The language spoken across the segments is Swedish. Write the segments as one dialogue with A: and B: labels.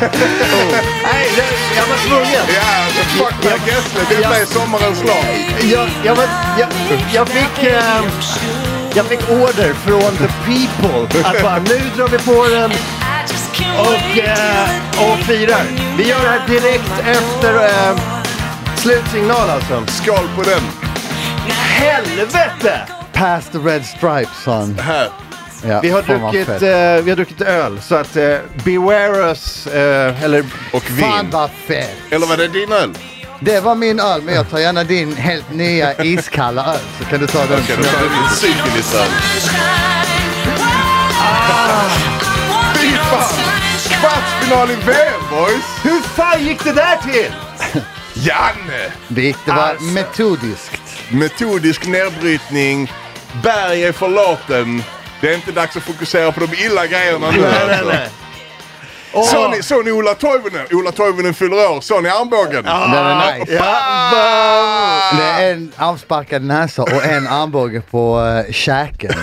A: Nej, jag- jag var tvungen.
B: Ja, alltså fuck Per Gessle. Detta är sommarens lag.
A: Jag, jag, var, jag, jag, fick, eh, jag fick order från the people att bara nu drar vi på den och, eh, och firar. Vi gör det här direkt efter eh, slutsignal alltså.
B: Skål på den.
A: Helvete!
C: Past the red stripes son.
B: Här.
C: Ja,
A: Vi har,
C: fan vad
A: druckit,
C: fett.
A: eh, vi har druckit öl så att eh, beware us, eh, eller
B: Och
C: Fan
B: vin.
C: vad fett!
B: Eller var det din öl?
C: Det var min öl, men jag tar gärna din helt nya iskalla öl. Så kan du ta den.
B: Okej, då tar vi din syfilisöl. Ah, Fy fan! Kvartsfinal i VM boys!
A: hur fan gick det där till?
B: Janne!
C: Det, det var
A: Alltså.
C: metodiskt.
B: Metodisk nedbrytning. Berg är förlåten. Det är inte dags att fokusera på de illa grejerna nu alltså.
A: Åh.
B: Såg ni, såg ni Ola Toivonen? Ola Toivonen fyller år. Såg ni armbågen?
C: Den är nice.
A: Ah, Ja,
C: Det
B: Ah!
C: är en avsparkad näsa och en armbåge på uh, käken.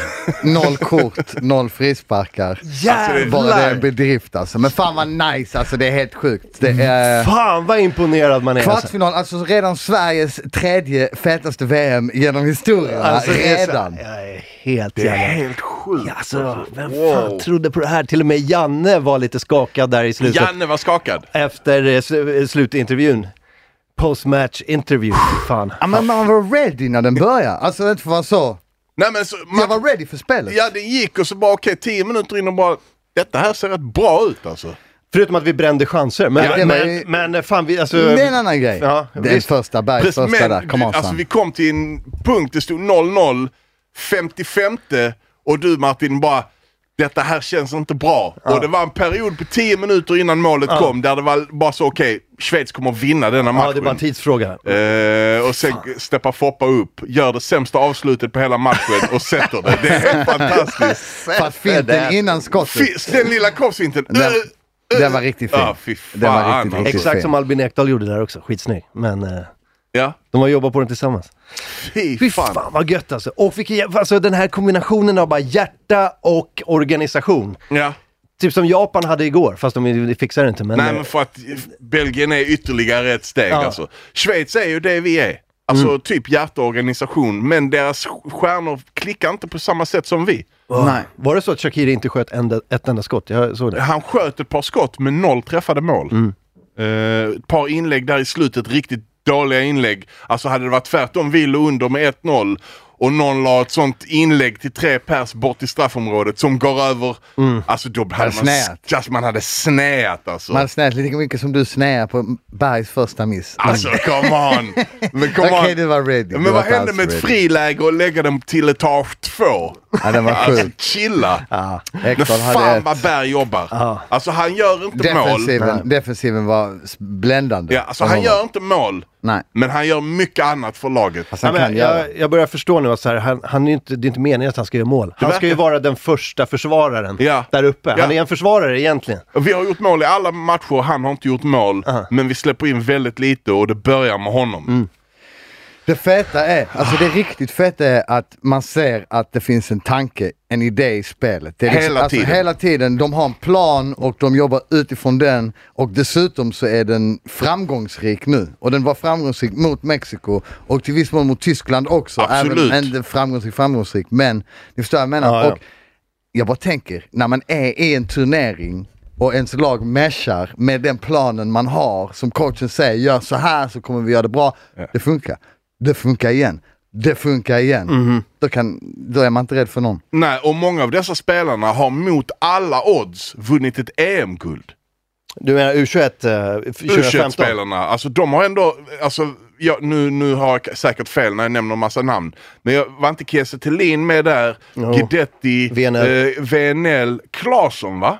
C: Noll kort, noll frisparkar. Bara det är en
A: jävlar!
C: bedrift alltså. Men fan vad nice alltså, det är helt sjukt. Det är...
A: Mm. Fan alltså. vad imponerad man är. alltså.
C: Kvartsfinal, alltså redan Sveriges tredje fetaste VM genom historien.
A: Alltså, det är så-
C: redan.
A: Jag är helt
B: Det är
A: jävla...
B: helt sjukt.
A: Alltså, vem
B: Wow.
A: fan trodde på det här? Till och med Janne var lite skakad där i slutet.
B: Janne var skakad.
A: Efter eh, sl- eh, slutintervjun. Postmatch intervju. Fan.
C: Ja, men man var ready när den började. Alltså inte för att vara så.
B: Nej, men så,
C: Jag
B: man,
C: var ready för spelet.
B: ja, det gick och så bara okej, tio minuter in och bara detta här ser rätt bra ut alltså.
A: Förutom att vi brände chanser. Men,
C: Ja, det var
A: men,
C: ju-
A: men eh, fan vi, alltså...
C: Det är en annan grej.
A: Ja,
C: det är
A: visst.
C: första, Bergs
B: Precis,
C: första där. Come on
B: alltså,
C: son.
B: vi kom till en punkt, det stod 0-0, 55 och du Martin bara detta här känns inte bra. Och det var en period på 10 minuter innan målet kom där det var bara så okej, Schweiz kommer vinna denna matchen.
A: Ja, det är bara en tidsfråga.
B: Eh, och sen steppar Foppa upp, gör det sämsta avslutet på hela matchen och sätter det. Det är helt fantastiskt.
C: Fast finten innan skottet,
B: Fis, den lilla kroppsvinten.
C: Den-
B: Uh, uh.
C: den var riktigt fin.
B: Ja, fy fan.
C: Den var riktigt,
B: alltså.
C: riktigt
A: Exakt
C: fin.
A: som Albin Ekdal gjorde där också. Skitsnygg. Men eh,
B: Ja,
A: de har jobbat på den tillsammans. Fy
B: fy
A: fan.
B: fan.
A: vad gött alltså. Och vilken, jä- alltså den här kombinationen av bara hjärta och organisation.
B: Ja.
A: Typ som Japan hade igår, fast de fixar det inte. Men, eh,
B: Nej men för att Belgien är ytterligare ett steg
A: Ja.
B: alltså. Schweiz är ju det vi är. Alltså
C: Mm.
B: typ hjärteorganisation, men deras stjärnor klickar inte på samma sätt som vi.
C: Nej.
A: Var det så att Shakiri inte sköt enda, ett enda skott? Jag såg det.
B: Han sköt ett par skott men noll träffade mål.
C: Mm.
B: Eh, ett par inlägg där i slutet, riktigt dåliga inlägg. Alltså hade det varit tvärtom, vi låg under med 1-0 och någon la ett sånt inlägg till tre pers bort i straffområdet som går över. Alltså då hade man,
C: Mm. snäat.
B: alltså, man hade snäat alltså.
C: Man snät lika mycket som du snäar på Bergs första miss.
B: Alltså come on! Men come
C: Okej,
B: on.
C: du var ready. Du
B: Men
C: var
B: vad
C: inte
B: hände
C: alls
B: med ett
C: ready.
B: friläge och lägga dem till etage två?
C: Ja, den var
B: Alltså
C: sjuk.
B: chilla! Men
C: Ekdal hade
B: fan vad
C: ett.
B: Berg jobbar! Alltså han gör inte mål.
C: Defensiven, defensiven var s- bländande.
B: Ja, alltså han gör inte mål,
C: Nej.
B: men han gör mycket annat för laget.
C: Alltså han
A: Ja, men
C: kan göra.
A: jag, jag börjar förstå nu att så här, han, han är ju inte, det är inte meningen att han ska göra mål. Han ska ju
B: verkar-
A: vara den första försvararen
B: Ja.
A: där uppe. Han
B: Ja.
A: är en försvarare egentligen.
B: Vi har gjort mål i alla matcher och han har inte gjort mål,
C: Uh-huh.
B: men vi släpper in väldigt lite och det börjar med honom.
C: Mm. Det feta är, alltså det riktigt feta är att man ser att det finns en tanke, en idé i spelet. Det är
B: Hela
C: alltså,
B: tiden.
C: Hela tiden. De har en plan och de jobbar utifrån den och dessutom så är den framgångsrik nu. Och den var framgångsrik mot Mexiko och till viss mån mot Tyskland också.
B: Absolut.
C: Även, inte framgångsrik, framgångsrik, men ni förstår vad jag menar.
A: Ja, ja.
C: Och jag bara tänker, när man är i en turnering och ens lag meshar med den planen man har, som coachen säger, gör så här så kommer vi göra det bra. Det funkar. Det funkar igen. Det funkar igen.
A: Mhm.
C: Då, kan, då är man inte rädd för någon.
B: Nej, och många av dessa spelarna har mot alla odds vunnit ett EM-guld.
A: Du menar U21, eh, 2015?
B: U21-spelarna, alltså de har ändå, alltså, jag, nu, nu har jag säkert fel när jag nämner massa namn, men jag, var inte Kiese Thelin med där, Guidetti,
A: Venell.
B: eh, VNL, Claesson va?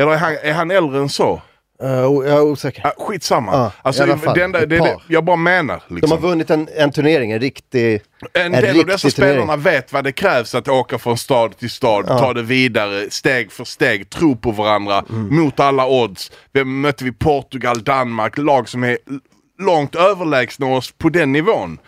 B: Eller är han, är han äldre än så?
A: Eh, o- jag är osäker.
B: Ah, skitsamma.
A: Ja,
B: alltså,
C: i alla fall,
B: den där,
C: ett
B: det, det,
C: par.
B: jag bara menar.
A: De
B: Liksom.
A: har vunnit en, en turnering, en riktig...
B: en
A: en
B: del av
A: riktig
B: dessa
A: turnering.
B: spelarna vet vad det krävs att åka från stad till stad, ta det vidare, steg för steg, tro på varandra, mot alla odds. Vem mötte vi? Portugal, Danmark, lag som är l- långt överlägsna oss på den nivån.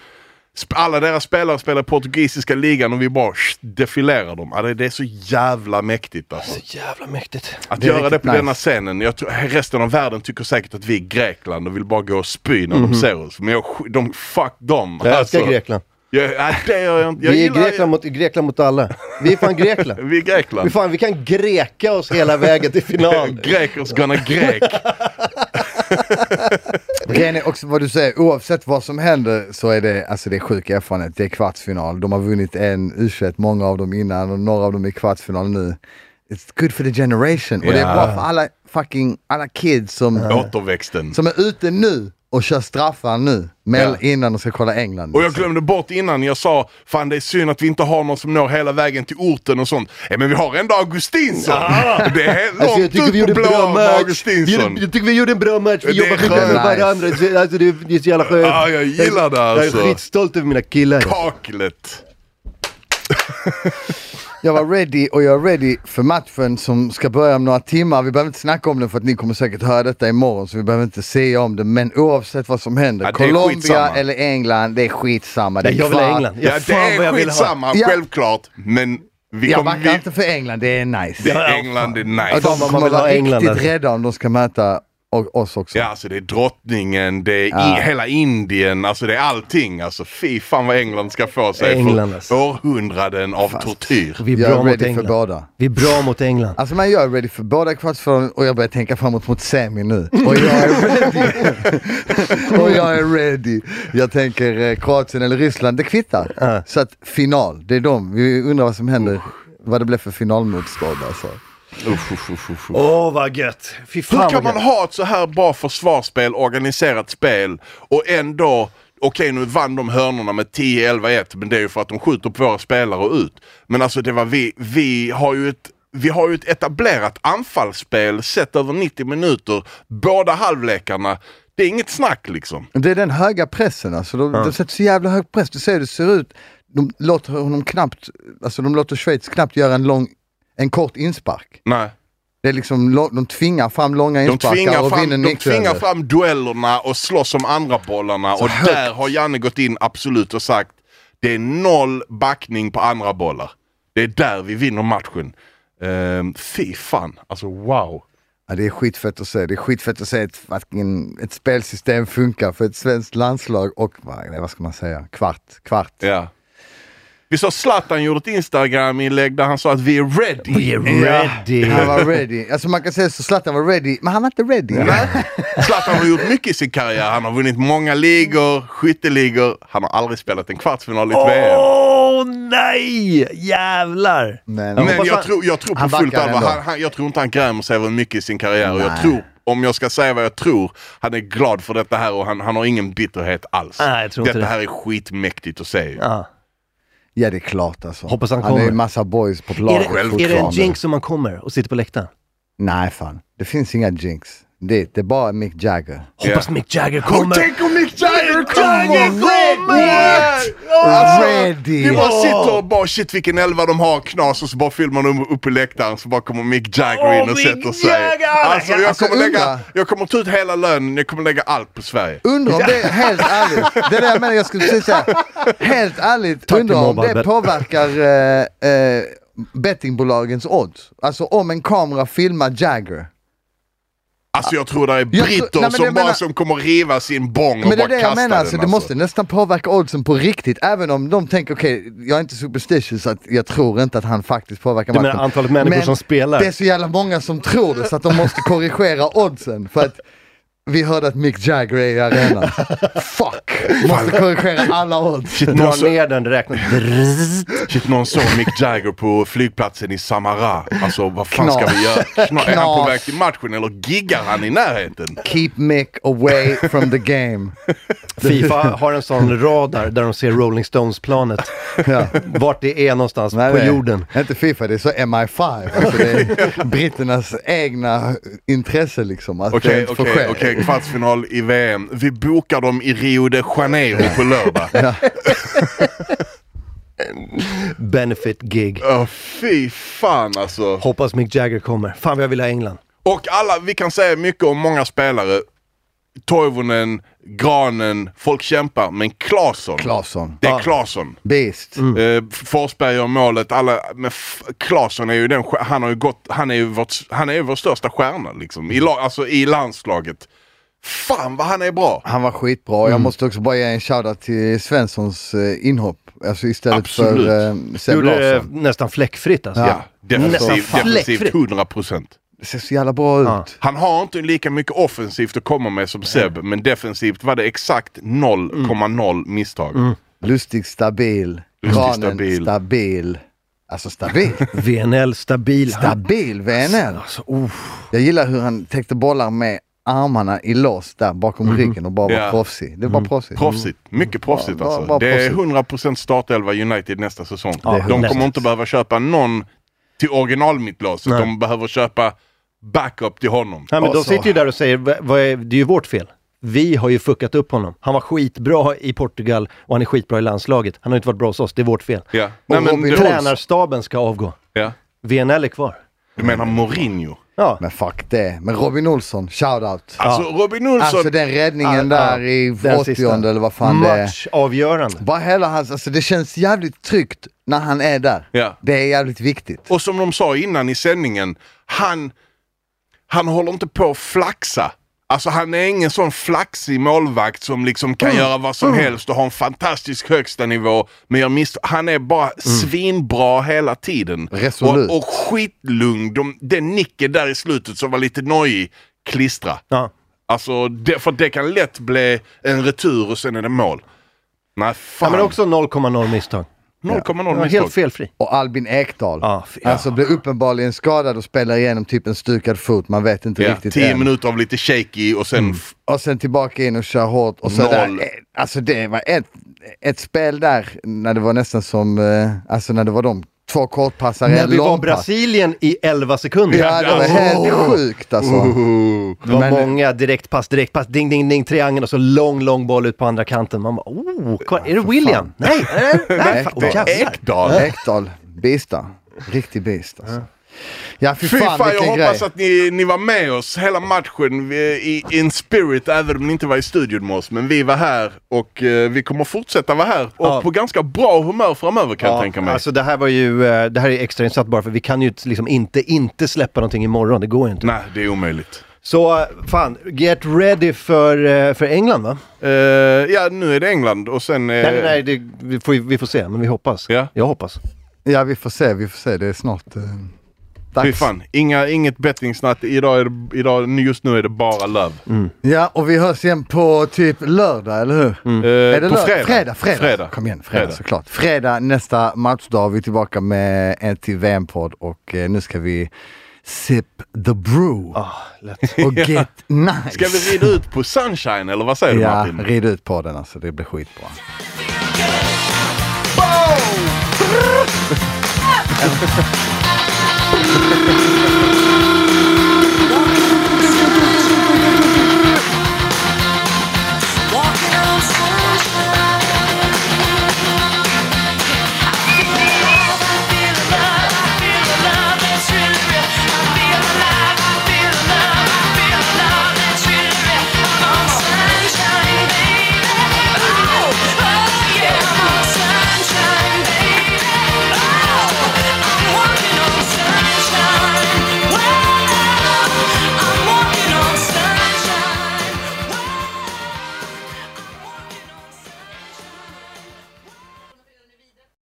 B: Sp- Alla deras spelare spelar i portugisiska ligan och vi bara sh, defilerar dem. Ja, det, det är så jävla mäktigt alltså.
A: Så jävla mäktigt.
B: Att
C: Det är
B: göra det
C: riktigt
B: på
C: nice.
B: denna scenen. Jag tror, resten av världen tycker säkert att vi är Grekland och vill bara gå och spy när
A: Mhm.
B: de ser oss. Men jag, sk- de, fuck dem. Alltså,
A: Jag älskar Grekland.
B: Jag, nej, det gör jag inte. Jag
A: Vi är
B: gillar-
A: Grekland mot, Grekland mot alla. Vi är fan Grekland.
B: Vi är Grekland.
A: Vi, fan, vi kan greka oss hela vägen till final.
B: Grekers gonna grek.
C: Grejen är också vad du säger, oavsett vad som händer så är det, alltså det är sjuk erfarenhet. Det är kvartsfinal. De har vunnit en u många av dem innan och några av dem är kvartsfinal nu. It's good for the generation. Och det
B: Ja.
C: är bra för alla fucking, alla kids som,
B: Återväxten.
C: som är ute nu och kör straffar nu. Mel innan de ska kolla England.
B: Och jag glömde bort innan, jag sa fan det är synd att vi inte har någon som når hela vägen till orten och sånt. Ja, men vi har ändå Augustinsson! Det är helt
A: Alltså,
B: långt ut på blåan med
A: Vi
B: Augustinsson.
A: gjorde- Jag tycker vi gjorde en bra match, vi
B: Det är
A: jobbar skitbra med
B: skönt.
A: varandra. Det- Alltså, det, är, det är så jävla skönt.
B: Ja, jag gillar det, alltså.
A: Jag är skitstolt över mina killar.
B: Kaklet!
C: Jag var ready och jag är ready för matchen som ska börja om några timmar. Vi behöver inte snacka om den för att ni kommer säkert höra detta imorgon så vi behöver inte säga om det. Men oavsett vad som händer,
B: Ja, det är
C: Colombia
B: skitsamma.
C: eller England, det är skitsamma. Det är
A: Nej, jag vill ha
C: kvart.
A: England.
B: Ja, det
A: fan vad
B: är
A: jag vill ha.
B: skitsamma,
C: Ja.
B: självklart. Men vi
C: Jag
B: kommer...
C: backar
B: Vi,
C: inte för England, det är nice.
B: det är England, det är
C: Och
B: nice.
C: de
A: vad man
C: kommer
A: vill ha
C: vara
A: England,
C: riktigt
A: alltså.
C: rädda om de ska möta o- oss också.
B: Ja, alltså det är drottningen, det är i, hela Indien, alltså det är allting. Alltså fy fan vad England ska få sig
A: England,
B: för
A: alltså.
B: århundraden av tortyr.
A: Vi är
C: Jag
A: bra
C: är
A: mot
C: ready för
A: England.
C: båda.
A: Vi är bra mot England.
C: Alltså men jag är ready för båda kvartsfinalen och jag börjar tänka framåt mot semi nu. Och jag är ready. och jag är ready. Jag tänker eh, Kroatien eller Ryssland, det kvittar. Så att final, det är de. Vi undrar vad som händer. Vad det blev för finalmotstånd alltså.
B: Uff, uff, uff, uff, uff.
A: Åh vad gött! Fy fan
B: Hur kan
A: vad
B: man
A: gött.
B: ha ett så här bra försvarsspel, organiserat spel och ändå, okej nu vann de hörnorna med 10-11-1 men det är ju för att de skjuter på våra spelare och ut. Men alltså det var vi, vi har ju ett vi har ju ett etablerat anfallsspel sett över 90 minuter, båda halvlekarna. Det är inget snack liksom.
C: Det är den höga pressen alltså. De, de sätter så jävla hög press. Du ser hur det ser ut. De låter honom knappt, alltså de låter Schweiz knappt göra en lång, en kort inspark.
B: Nej.
C: Det är liksom, lå- de tvingar fram långa
B: De
C: insparkar
B: tvingar,
C: och vinner
B: fram, de tvingar
C: nickdueller.
B: fram duellerna och slåss om andra bollarna och där har Janne gått in absolut och sagt det är noll backning på andra bollar. Det är där vi vinner matchen. Um, fy fan, alltså wow.
C: Ja, det är skitfett att se. Det är skitfett att se ett, fucking, ett spelsystem funkar för ett svenskt landslag och va- nej, vad ska man säga, kvart, kvart.
B: Ja. Vi såg Zlatan gjorde ett Instagram-inlägg där han sa att vi är ready.
A: Vi är ready!
C: Han var ready. Alltså man kan säga så Zlatan var ready, men han var inte ready.
B: Nej. Zlatan har gjort mycket i sin karriär. Han har vunnit många ligor, skytteligor. Han har aldrig spelat en kvartsfinal i ett VM.
A: Åh nej! Jävlar!
C: Men,
B: Men
A: hoppas
B: jag
A: han-
B: tror, jag tror på
C: han
B: fullt
C: backar
B: allvar,
C: ändå.
B: han, han, jag tror inte han grämer sig över mycket i sin karriär. Och jag
C: Nej.
B: tror, om jag ska säga vad jag tror, han är glad för detta här och han, han har ingen bitterhet alls.
A: Nej, jag tror inte
B: detta
A: det.
B: här är skitmäktigt att se. ju.
A: Ja.
C: ja det är klart alltså.
A: Hoppas han
C: Han är
A: kommer.
C: ju massa boys på
A: Är,
C: planet
A: det, är det en
C: fortfarande.
A: jinx som man kommer och sitter på läktaren?
C: Nej fan, det finns inga jinx. Det, det är bara Mick Jagger.
A: Hoppas
B: Ja.
A: Mick Jagger kommer!
B: tänk om Mick Jagger
A: Jagger
B: kommer!
C: Alltså,
B: Ah! Vi
C: ready!
B: bara sitter och bara shit vilken elva de har knas och så bara filmar de upp i läktaren så bara kommer Mick Jagger
A: Åh,
B: in och
A: Mick
B: sätter sig.
A: Jagger!
B: Alltså, jag,
C: Alltså,
B: kommer lägga,
C: undra.
B: jag kommer ta ut hela lönen, jag kommer lägga allt på Sverige.
C: Undrar om det, helt ärligt, det är det jag menar, jag skulle precis säga, helt ärligt,
A: till
C: undrar om
A: Mobile
C: det
A: Bet.
C: påverkar eh, eh, bettingbolagens odds. Alltså om en kamera filmar Jagger.
B: Alltså jag tror det är
C: tror-
B: britter
C: nej, men
B: som
C: jag
B: bara
C: menar-
B: som kommer riva sin bång och
C: Men det
B: bara
C: är det
B: kasta
C: jag menar,
B: den.
C: alltså, det måste nästan påverka oddsen på riktigt. Även om de tänker, okej, jag är inte superstitious, så att jag tror inte att han faktiskt påverkar
A: Du menar
C: matchen.
A: antalet människor
C: Men
A: som spelar?
C: Det är så jävla många som tror det, så att de måste korrigera oddsen. För att vi hörde att Mick Jagger är i arenan. Fuck! Måste korrigera alla odds.
A: Dra ner den, räkna. Drrrr.
B: Shit, någon såg Mick Jagger på flygplatsen i Samara. Alltså vad fan ska
C: Knas.
B: vi göra? Knas. Är han på
C: Knas.
B: väg till matchen eller giggar han i närheten?
C: Keep Mick away from the game.
A: Fifa har en sån radar där de ser Rolling Stones-planet.
C: Ja.
A: Vart det är någonstans
C: Nej,
A: på
C: det är-
A: jorden.
C: Inte Fifa, det är så MI5. Alltså det är britternas egna intresse liksom. Att det
B: Okej,
C: inte får
B: okej,
C: ske.
B: okej. Kvartsfinal i VM. Vi bokar dem i Rio de Janeiro på lördag.
A: Benefit gig.
B: Åh, fy fan alltså.
A: Hoppas Mick Jagger kommer. Fan vad jag vill ha England.
B: Och alla, vi kan säga mycket om många spelare. Toivonen, Granen, folk kämpar. Men Claesson,
C: Claesson.
B: det är
A: Ja.
B: Claesson.
C: Beast.
A: Mm.
B: Eh, Forsberg gör målet, alla, men F- Claesson är ju den, stjär- han har ju gått, han är ju, vårt, han är ju vår största stjärna liksom, i, la- alltså, i landslaget. Fan vad han är bra!
C: Han var skitbra. Jag måste också bara ge en shoutout till Svenssons eh, inhopp. Alltså istället
B: Absolut.
C: för eh, Seb
A: Gjorde det
C: Larsson.
A: nästan fläckfritt alltså.
B: Ja, defensivt,
A: Nästan
B: defensivt
A: fläckfritt.
B: 100%.
C: Det ser så jävla bra ut.
A: Ja.
B: Han har inte lika mycket offensivt att komma med som Seb, men defensivt var det exakt 0,0 misstag.
A: Mm.
C: Lustig, stabil.
B: Lustig,
C: Granen,
B: stabil.
C: stabil. Alltså stabil.
A: VNL stabil. Han-
C: Stabil VNL.
A: Alltså, oh.
C: Jag gillar hur han täckte bollar med armarna i lås där bakom
A: Mhm.
C: ryggen och bara var
B: Ja.
C: proffsig. Det var
A: Mm.
C: proffsigt.
B: Proffsigt, mycket proffsigt
C: Ja, Mm. bara-
B: alltså.
C: bara
B: det är
C: proffsigt.
B: 100% startelva United nästa säsong.
A: Ja,
B: de
A: nästa.
B: kommer inte behöva köpa någon till originalmittlaset,
A: Nej.
B: de behöver köpa backup till honom.
A: Nej, men de
C: Alltså.
A: sitter ju där och säger, "Va- vad är, det är ju vårt fel. Vi har ju fuckat upp honom. Han var skitbra i Portugal och han är skitbra i landslaget. Han har inte varit bra hos oss, det är vårt fel.
B: Ja. Nej, men,
C: Robin
B: du,
C: Olsen.
A: Tränarstaben ska avgå.
B: ja.
A: VNL är kvar.
B: du menar Mourinho?
A: Ja,
C: Men fuck det. Men Robin Olsson, shoutout.
B: Alltså Robin Olsson,
C: Alltså den räddningen
A: Ja,
C: där
A: ja.
C: i
A: Den
C: 80
A: sista.
C: eller vad fan det är.
A: matchavgörande.
C: Bara hela hans, alltså det känns jävligt tryggt när han är där.
B: Ja.
C: Det är jävligt viktigt.
B: och som de sa innan i sändningen, han, han håller inte på att flaxa. Alltså han är ingen sån flaxig målvakt som liksom kan
A: Mm.
B: göra vad som helst och har en fantastisk högsta nivå. Men jag misst- han är bara
A: Mm.
B: svinbra hela tiden.
C: Resolut.
B: Och, och skitlugn. De, den nicken där i slutet som var lite nojig, klistra.
A: Ja.
B: Alltså, det, för det kan lätt bli en retur och sen är det mål. Nej,
A: ja,
B: fan.
A: men också 0,0 misstag.
B: 0,0
A: Han var
B: misstag.
A: helt felfri.
C: Och Albin Ekdal.
A: Ja, Ah, fy-
C: Alltså blir uppenbarligen skadad och spelar igenom typ en stukad fot. Man vet inte
B: Ja,
C: riktigt
B: 10
C: än.
B: minuter av lite shaky och sen
A: Mm.
B: f-
C: Och sen tillbaka in och köra hårt. Och så
B: Noll.
C: där, eh, alltså det var ett, ett spel där när det var nästan som, eh, alltså när det var de två kortpassar i
A: När
C: en
A: vi var
C: långpass.
A: Brasilien i 11 sekunder.
C: Ja, det var helt sjukt alltså.
A: Oh. Det var
C: Men- eh,
A: många direktpass, direktpass, ding, ding, ding, triangel och så lång, lång boll ut på andra kanten. Man bara, oh, kolla, är det William? Nej, nej, nej, fan, oh, jävlar.
B: Ekdal.
C: Ekdal, bista. Riktig beast alltså. Ja, fy
B: Fy
C: fan,
B: fan, jag
C: vilken
B: hoppas
C: grej.
B: att ni, ni var med oss hela matchen vi- i in spirit, även om ni inte var i studion med oss. Men vi var här och eh, vi kommer fortsätta vara här. Och
A: Ja.
B: på ganska bra humör framöver kan jag tänka mig.
A: Alltså det här var ju, eh, det här är extrainsatt bara för vi kan ju inte- liksom inte, inte släppa någonting imorgon, det går ju inte.
B: Nej, det är omöjligt.
A: Så eh, fan, get ready för, eh, för England va?
B: Eh, ja, nu är det England och sen... eh,
A: Nej, nej, nej, det, vi, får, ju- vi får se, men vi hoppas.
B: Ja.
A: Jag hoppas.
C: Ja, vi får se, vi får se. Det är snart eh,
B: Fy
C: dags.
B: fan, Inga, inget bettingsnatt. Idag är det, idag, just nu är det bara löv.
C: Mm. Ja, och vi hörs igen på typ lördag, eller hur?
B: Eh,
C: Är det
B: på
C: lördag?
B: fredag.
C: Fredag, fredag.
B: Fredag.
C: Kom igen, fredag,
B: Fredag.
C: såklart. Fredag nästa matchdag. Vi är tillbaka med en till VM-podd och eh, nu ska vi sip the brew
A: Ah, lätt.
C: och get nice.
B: Ska vi rida ut på sunshine eller vad säger
C: Ja,
B: du Martin?
C: rid ut på den alltså. Det blir skitbra.